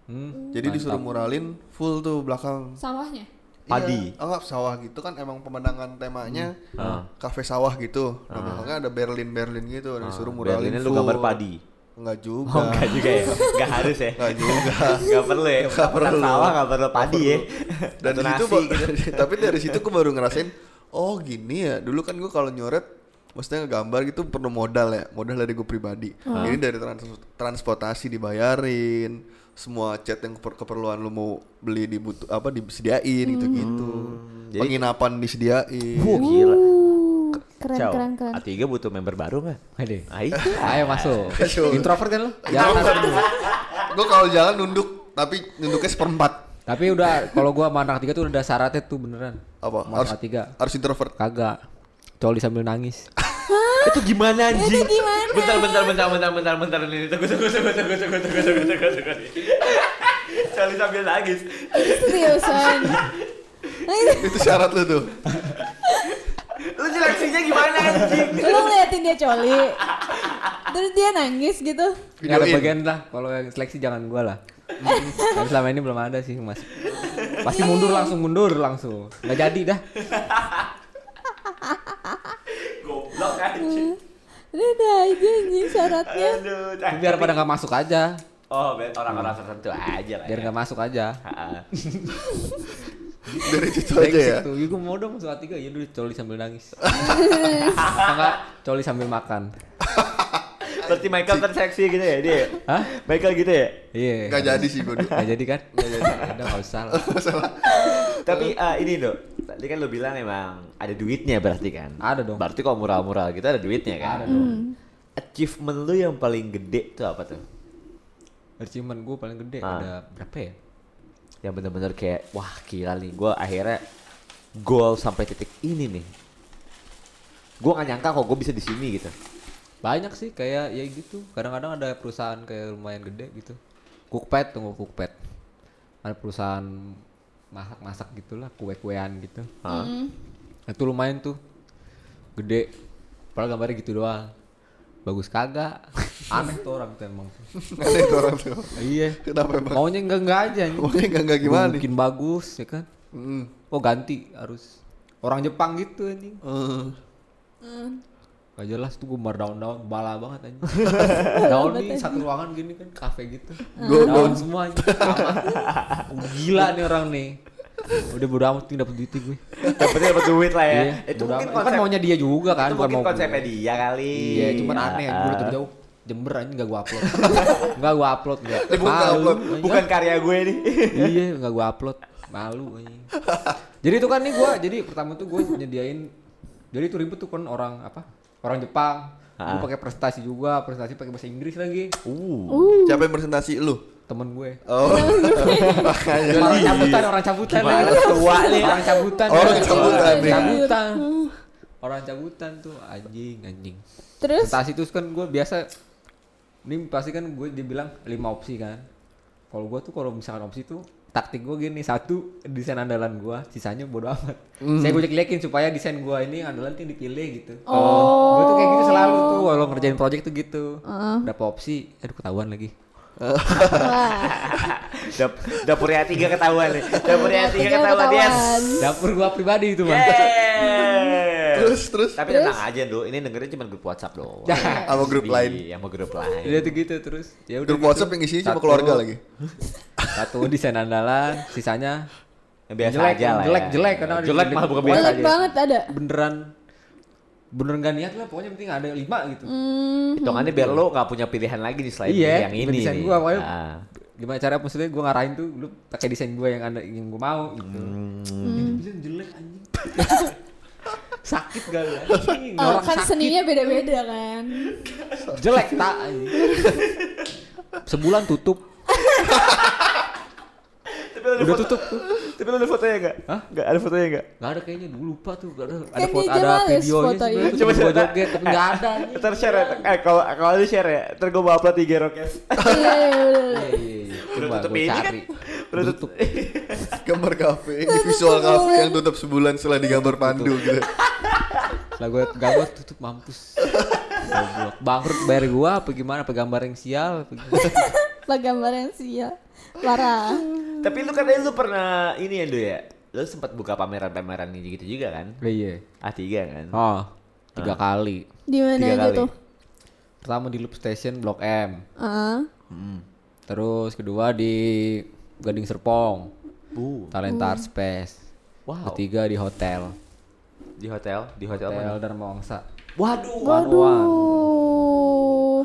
Hmm. Jadi disuruh muralin full tuh belakang. Sawahnya? Padi. Hmm. Iya, anggap sawah gitu kan emang pemandangan temanya kafe sawah gitu. Nah, belakangnya ada Berlin Berlin gitu, ada disuruh muralin. Ah. Berlinnya full lu gambar padi. Enggak juga. Oh, enggak juga ya. Enggak harus ya. Enggak juga. Enggak perlu ya. Enggak perlu. Sawah enggak perlu padi ya. Dan Satu di situ nasi gitu. ba- tapi dari situ gue baru ngerasain oh gini ya. Dulu kan gue kalau nyoret maksudnya ngegambar gitu perlu modal ya, modal dari gue pribadi. Ah. Ini dari trans- transportasi dibayarin, semua cat yang keper- keperluan lu mau beli dibutuh apa disediain gitu-gitu. Hmm. Jadi- Penginapan disediain. Wuh, gila. Uh, keren, Ciao. keren, keren. A3 butuh member baru enggak? Aduh. Ah, itu. Ayo masuk. Masuk. Introvert kan lu? Jangan. gue kalau jalan nunduk tapi nunduknya seperempat Tapi udah kalau gua sama anak tiga tuh udah syaratnya tuh beneran. apa Sama harus anak tiga. harus introvert Kagak. Coli sambil nangis. Itu gimana anjing? gimana? Bentar bentar bentar bentar bentar bentar ini tunggu tunggu tunggu tunggu tunggu tunggu tunggu tunggu tunggu. Cari sambil nangis. Ini seriusan. Ini- itu syarat lu tuh Lu seleksinya gimana anjing? Lu ngeliatin dia coli. Terus dia nangis gitu. Nggak ada Videoin. Ya, bagian lah. Kalau yang seleksi jangan gua lah. Tapi selama ini belum ada sih mas. Pasti mundur langsung mundur langsung. Nggak jadi dah. Goblok anjing. Udah aja anjing syaratnya. Aduh, tai. Biar pada nggak masuk aja. Oh, biar orang-orang tertentu aja lah. Biar ya. nggak masuk aja. Ah, ah. dari situ aja Brengsek ya tuh. Ya, gua mau dong masuk A3 ya dulu coli sambil nangis. Atau nggak coli sambil makan. Berarti Michael terseksi gitu ya dia. Hah? Michael gitu ya? Iya. nggak jadi sih gue Nggak jadi kan? Nggak jadi. Udah nggak usah lah. Tapi eh, ini dok, tadi kan lo bilang emang ada duitnya berarti kan? Ada dong. Berarti kalau mural-mural gitu ada duitnya kan? Ada dong. Achievement lu yang paling gede tuh apa tuh? Achievement gue paling gede Ah. ada berapa ya? Yang bener-bener kayak wah gila nih, gue akhirnya goal sampai titik ini nih. Gue gak nyangka kok gue bisa di sini gitu. Banyak sih kayak ya gitu. Kadang-kadang ada perusahaan kayak lumayan gede gitu. Cookpad tunggu cookpad. Ada perusahaan masak-masak gitulah, kue-kuean gitu. Hah? Itu lumayan tuh. Gede. Padahal gambarnya gitu doang. Bagus kagak. Aneh tuh orang tuh emang. aneh tuh orang tuh iya. kenapa emang Maunya enggak-enggak aja. anjing. maunya nggak nggak gimana nih Bikin bagus ya kan. Mm. Oh ganti harus. Orang Jepang gitu anjing. Eh, Gak jelas tuh gue mar daun-daun bala banget anjing. daun nih satu ruangan gini kan kafe gitu. Gua- daun semua anjing. Sama. Gila nih orang nih. Udah bodo amat nih dapet duit gue. Dapetnya dapet duit lah ya. Iya, itu mungkin bodo amat. Itu konsep, kan maunya dia juga kan. itu bukan mungkin mau gue. konsepnya dia kali. Iya, cuman Ah, aneh gue ah. udah jauh. Jember anjing gak gue upload. Gak gue upload gak. Eh, bukan nggak upload. ah. Bukan karya gue nih. iya nggak gua upload malu anjing. jadi itu kan nih gua jadi pertama tuh gua nyediain jadi itu ribet tuh kan orang apa Ah. orang Jepang gua pakai presentasi juga presentasi pakai bahasa Inggris lagi Uh. siapa yang presentasi lu temen gue Oh, orang cabutan orang cabutan Gimana ya. tua nih? Oh, orang cabutan Orang cabutan, orang ya. cabutan orang cabutan tuh anjing anjing Terus tas itu kan gue biasa ini pasti kan gue dibilang lima opsi kan kalau gue tuh kalau misalkan opsi tuh taktik gue gini satu desain andalan gue sisanya bodo amat saya gue jelek supaya desain gue ini andalan tuh yang dipilih gitu Oh. gue tuh kayak gitu selalu tuh kalau ngerjain project tuh gitu udah apa opsi aduh ketahuan lagi wah, Dap dapurnya tiga ketahuan nih. Dapurnya tiga tiga ketahuan, yes. ketahuan. dapur gue pribadi itu bang Yeay. terus terus Tapi tenang aja dulu, ini dengerin cuma grup WhatsApp doang. Ya, Sama grup Sedih, lain. Sama grup Iya lain. tuh gitu terus. Ya udah grup gitu. WhatsApp yang isinya cuma Satu- keluarga lagi. Satu desain andalan, sisanya Yang Biasa jelek, aja lah. jelek, ya. jelek karena ada jelek di- malah bukan Pokoknya biasa jelek aja. banget ada. beneran bener gak niat lah pokoknya penting ada lima gitu. Hmm. Hitungannya biar lo gak punya pilihan lagi nih selain Iya, yang ini. desain nih. gua awalnya- Ah. Gimana cara maksudnya gue ngarahin tuh lu pakai desain gue yang anda yang gue mau gitu. Hmm. Ini desain jelek anjing. sakit gak lu anjing? Oh, Orang kan sakit. seninya beda-beda kan. jelek tak anjing. Sebulan tutup. Tapi lo ada Udah foto- tutup tuh. Tapi lo ada fotonya gak? Hah? Gak ada fotonya gak? Gak ada kayaknya dulu lupa tuh gak ada ada Kan foto dia ada jurnalis videonya fotonya. sih Coba cuma gue cerita. joget tapi gak ada anjing. Iya, Ntar share ya, eh kalau kalau lu share ya, ntar gue upload di Gerokes. Iya, iya, iya. Coba Udah tutup gua ini kan? cari. Udah Tutup. Gambar kafe, di visual kafe yang tutup sebulan setelah digambar pandu gitu. Lah gue gawat tutup mampus. Goblok. Bangkrut bayar gua apa gimana? Apa gambar yang sial? Apa gimana? Lah gambarnya sih ya. Parah. Tapi lu katanya lu pernah ini ya, Do ya? Lu sempat buka pameran-pameran ini gitu juga kan? Iya. A3 kan? Oh, Ah. tiga kali. Di mana Tiga aja kali. tuh? Pertama di Loop Station Blok M. Heeh. Terus kedua di Gading Serpong. Bu, Talent Art Space. Wow. Ketiga di hotel. di hotel, di hotel, Hotel mana? Dharma Wangsa. Waduh. Waduh.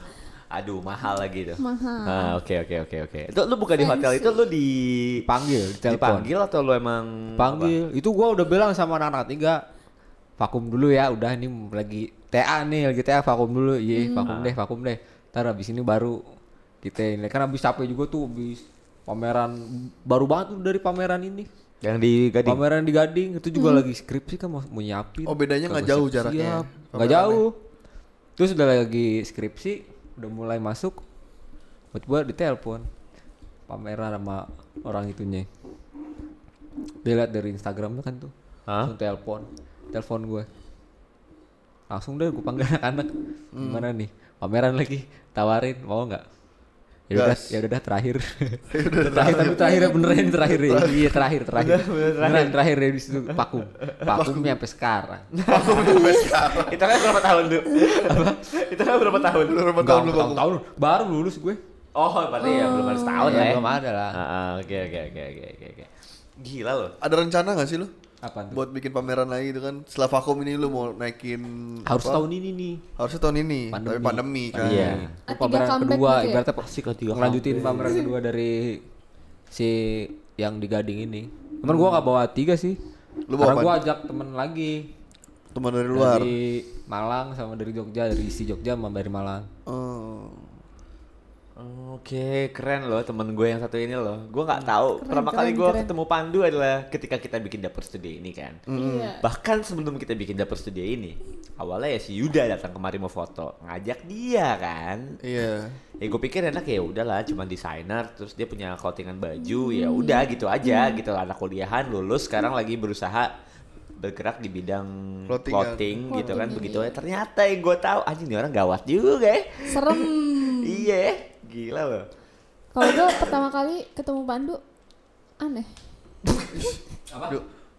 Aduh, mahal lagi tuh. Mahal. Ah, oke oke oke oke. Itu lu buka di hotel itu lu dipanggil, Dipanggil, ditelepon. dipanggil atau lu emang Panggil. Itu gua udah bilang sama anak-anak tiga vakum dulu ya. Udah ini lagi TA nih, lagi TA vakum dulu. Iya, vakum deh, vakum deh. Ntar abis ini baru kita ini. Karena abis capek juga tuh abis pameran baru banget tuh dari pameran ini. apa? yang di Gading? Pameran di Gading itu juga lagi skripsi kan mau, mau nyiapin. Oh, bedanya Kagak nggak jauh siap-siap. jaraknya, Nggak pamerannya. jauh. Terus udah lagi skripsi, udah mulai masuk. Buat gua ditelepon pameran sama orang itunya. Dia liat dari Instagramnya kan tuh. Hah? Langsung telepon. Telepon gue. Langsung deh gue panggil anak-anak. Hmm. Gimana nih? Pameran lagi. Tawarin mau nggak? Ya udah, Gas. ya udah dah, terakhir. terakhir tapi terakhir ya, beneran terakhir ya. Iya terakhir terakhir. Beneran terakhir ya di situ pakum. Pakumnya sampai sekarang. Itu kan berapa tahun tuh? Apa? Itu kan berapa tahun? Berapa Enggak, tahun lu tahun, tahun baru lulus gue. Oh, berarti ya belum ada setahun Ya, lah ya. belum ada lah. Ah, ah, Oke oke oke oke oke oke. Gila loh. Ada rencana gak sih lu? Apa tuh? Buat bikin pameran lagi itu kan setelah vakum ini lu mau naikin Harus apa? tahun ini nih. harusnya tahun ini tapi pandemi kan Iya. Ah, Itu tiga pameran comeback kedua gitu ya? Iya. ibaratnya pasti ketiga ngelanjutin pameran kedua dari si yang di Gading ini. Cuman gua gak bawa tiga sih. Lu bawa Karena apaan? gua ajak temen lagi teman dari luar dari Malang sama dari Jogja, dari si Jogja sama dari Malang. Oh. Oke, keren loh temen gue yang satu ini loh. Gue nggak tahu. Pertama kali gue ketemu Pandu adalah ketika kita bikin dapur studio ini kan. Bahkan sebelum kita bikin dapur studio ini, awalnya ya si Yuda datang kemari mau foto, ngajak dia kan. iya Ya gue pikir enak ya udahlah, cuman desainer, terus dia punya clothingan baju, ya udah gitu aja gitu. Anak kuliahan lulus, sekarang lagi berusaha bergerak di bidang Clothingan. clothing gitu kan begitu ya ternyata yang gue tahu anjing nih orang gawat juga ya Serem. iya ya. gila loh Kalau gue pertama kali ketemu Pandu aneh. Duh,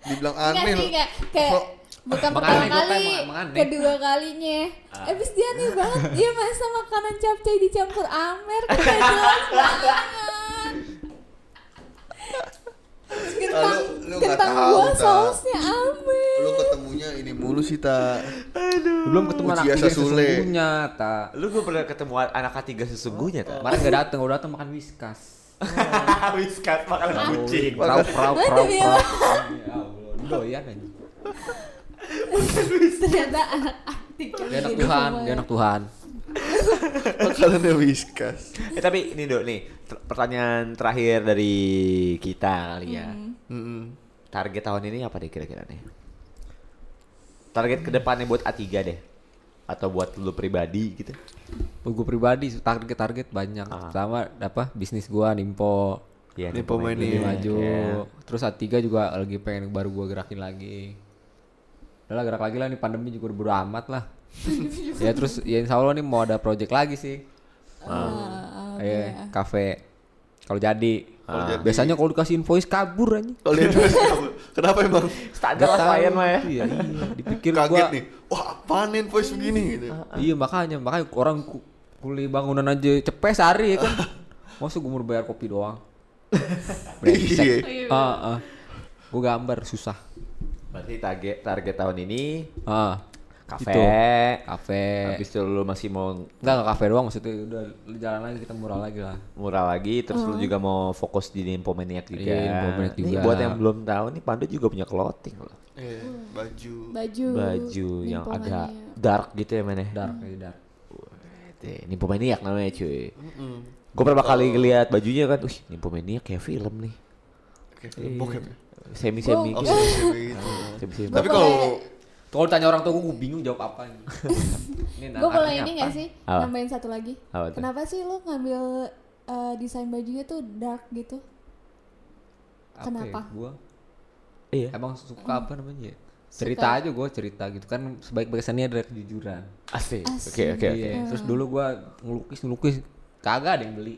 dibilang Enggak aneh sih lu. kayak kayak bukan Emang pertama aneh, gua kali, tanya, emang aneh. kedua kalinya. Ah. Abis dia aneh banget, dia masa makanan capcay dicampur amer, kayak jelas banget. Terus Kentang, lu nggak kentang tahu, gua Ta. sausnya amer. lu ketemunya ini mulu sih ta Belum ketemu anak Ujiasa tiga yang Sule. sesungguhnya, tak. Lu gue pernah ketemu an- anak ketiga sesungguhnya tak? Kemarin gak dateng, udah dateng makan whiskas. Wiskat makan kucing. Prau, prau, prau, Demi prau. Ya Allah, doyan aja. Ternyata anak aktif. Dia anak Tuhan, dia anak Tuhan. Makanannya whiskas. Eh, tapi ini dok nih ter- pertanyaan terakhir dari kita kali ya. Mm-mm. Target tahun ini apa deh kira-kira nih? Target kedepannya buat A3 deh, atau buat lu pribadi gitu? Gue pribadi target target banyak. Ah. Pertama apa bisnis gua nimpo Iya, Nih, nih, pemain pemain lebih Iya, maju. iya. Terus A3 juga lagi pengen baru gua gerakin lagi. Udah lah gerak lagi lah nih pandemi juga udah bodo amat lah. ya terus ya insya Allah nih mau ada project lagi sih. Ah, oke. Iya, kafe. Kalau jadi. Kalau Ah. jadi. Biasanya kalau dikasih invoice kabur aja. Kalau dia nulis, kenapa emang Standar lah klien mah ya. Iya, iya. Dipikir kaget gua nih? Wah apaan nih voice begini Ah, gitu. Iya makanya makanya orang ku- kuli bangunan aja cepet sehari ya kan. Masa gue mau bayar kopi doang. Brengsek. Iya. Heeh. Gue gambar susah. Berarti target target tahun ini Ah. kafe, Gitu. Kafe. habis itu lu masih mau Enggak enggak kafe doang maksudnya udah lu jalan lagi kita murah lagi lah. murah lagi terus lu juga mau fokus di Nimpo Maniac juga. Iya, Nimpo Maniac Nih, juga. buat yang belum tahu nih Pandu juga punya clothing loh. Iya, Baju. Baju. Baju yang Nymphomania. agak dark gitu ya men ya. Dark kayak dark. Ini Maniac namanya cuy. Gue pertama kali ngeliat bajunya kan, wih Nimpo Maniac kayak film nih. Oke, Iya. bokep. Semi-semi Oh, gitu. Iya. serius gitu. Semi-semi. Tapi kalau Kalau ditanya orang tua gue, bingung jawab apa ini. ini Gue boleh ini gak sih? Nah, Apa? Nambahin satu lagi. Apa tuh? Kenapa sih lo ngambil eh, desain bajunya tuh dark gitu? Kenapa? Hmm. Gue Iya. emang suka apa namanya ya? Cerita aja gue cerita gitu kan sebaik-baik seni adalah kejujuran. Asik. Oke oke oke. Iya, terus Hmm. dulu gua ngelukis ngelukis kagak ada yang beli.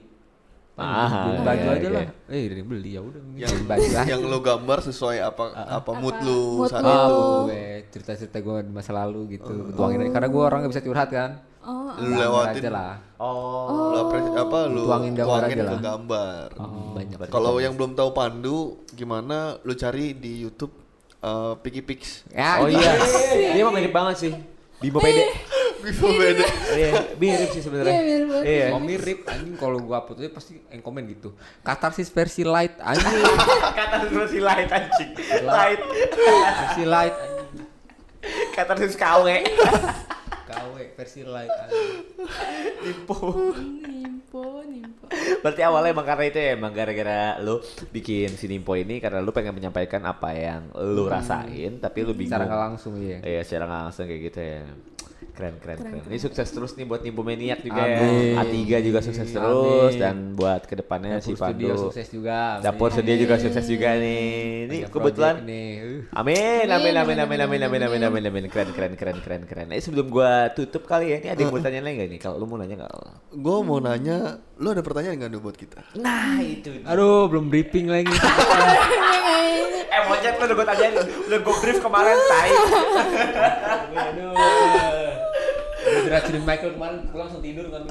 Kan, Ah, beli iya, baju iya, aja iya. lah. Eh, ada yang beli ya udah mending yang beli baju Ah, aja. yang lo gambar sesuai apa apa mood lu mood lu. saat Ah, itu. buat gue cerita-cerita gue di masa lalu gitu. Oh. Tuangin aja. karena gue orang gak bisa curhat kan. Oh, Lu Gambar lewatin aja lah. Lu apres- apa lu Tuangin gambar tuangin aja ke lah. gambar. Oh, Hmm, banyak. Kalau yang belum tahu Pandu gimana lu cari di YouTube eh Piki Pix. Ya, Oh iya. Dia emang mirip banget sih. Bimo pede. Bisa beda. Iya, mirip sih Iya, sebenarnya. mirip banget. Iya. Mau mirip anjing kalau gue upload aja pasti yang komen gitu. Katarsis versi light anjing. Katarsis light anjing. Light. versi light anjing. Katarsis kawe. KW versi light anjing. nimpo nimpo Berarti awalnya emang karena itu ya, emang gara-gara lu bikin si Nimpo ini karena lu pengen menyampaikan apa yang lu rasain tapi lu bingung. Secara nggak langsung iya. Iya secara nggak langsung kayak gitu ya. Keren keren keren. Ini sukses terus nih buat Nimpo Maniac juga. ya. Amin. A3 juga sukses terus Amin. dan buat kedepannya si Dapur Pandu. studio sukses juga. Dapur Amin. studio juga sukses juga nih. Ini Banyak kebetulan. project nih. Uh. Amin, amin, amin, amin, amin, amin, amin, amin, amin, keren, keren, keren, keren, keren. Eh sebelum gua tutup kali ya, ini ada yang mau tanya lagi gak nih? Kalau lu mau nanya gak? Gue mau nanya, lu ada pertanyaan nggak ada buat kita? Nah itu. Aduh, belum briefing lagi. Eh monyet lu udah gue tanyain, udah gue brief kemarin, tai. Aduh. Udah diracunin Michael kemarin pulang langsung tidur kan.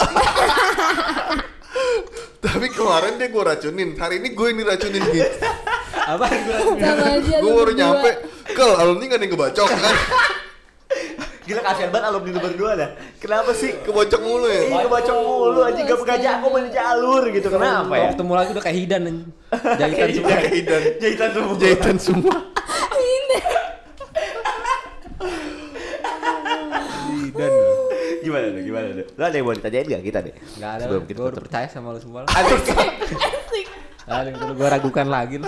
Tapi kemarin dia gue racunin, hari ini gue yang diracunin gitu. Apa gue sama aja gue lu baru berdua. nyampe, kel alumni gak ada yang kebacok kan? Gila kasihan banget alumni lu berdua dah. Kenapa sih? Kebocok mulu ya? Ih, kebacok mulu aja gak mengajak aku main jalur gitu. Kenapa ya? Iya, Ketemu lagi udah kayak hidan anjing. Jahitan semua. Jahitan, Jahitan semua. jahitan semua. Hidan. Gimana tuh? Gimana tuh? Lo ada yang mau ditanyain gak kita deh? Enggak ada. Sebelum kita Gue udah tutup. percaya sama lu semua. lah. Ada yang perlu gue ragukan lagi lah.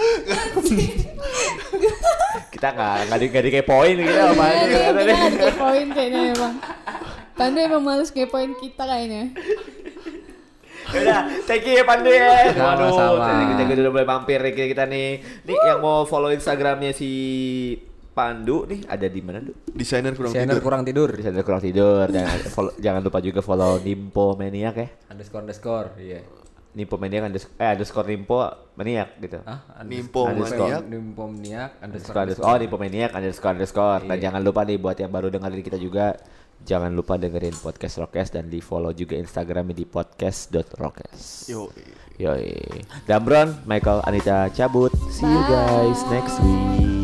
Kita gak, gak, di, gak dikepoin gitu apa Iya, aja. dia- gitu dia deh. harus kepoin kayaknya emang. Pandu emang males kepoin kita kayaknya. Yaudah, thank you ya Pandu ya. Sama-sama. thank you, thank you udah boleh mampir nih kita, kita nih. Nih yang mau follow Instagramnya si Pandu nih ada di mana tuh? Desainer kurang Channel tidur. kurang tidur. Di sana kurang tidur dan follow- jangan lupa juga follow Nimpo Maniac ya. Underscore underscore. Iya. Nimpo Maniac underscore, eh, underscore Nimpo Maniac gitu. Ah, Nimpo maniak. Nimpomniak Underscore, underscore. underscore. Iya. Oh Nimpo Maniac underscore underscore. Dan jangan lupa nih buat yang baru dengerin kita juga jangan lupa dengerin podcast Rockes dan di follow juga Instagramnya di podcast.rockes. Yo. Yoi. Dan Bron, Michael, Anita cabut. See you guys next week.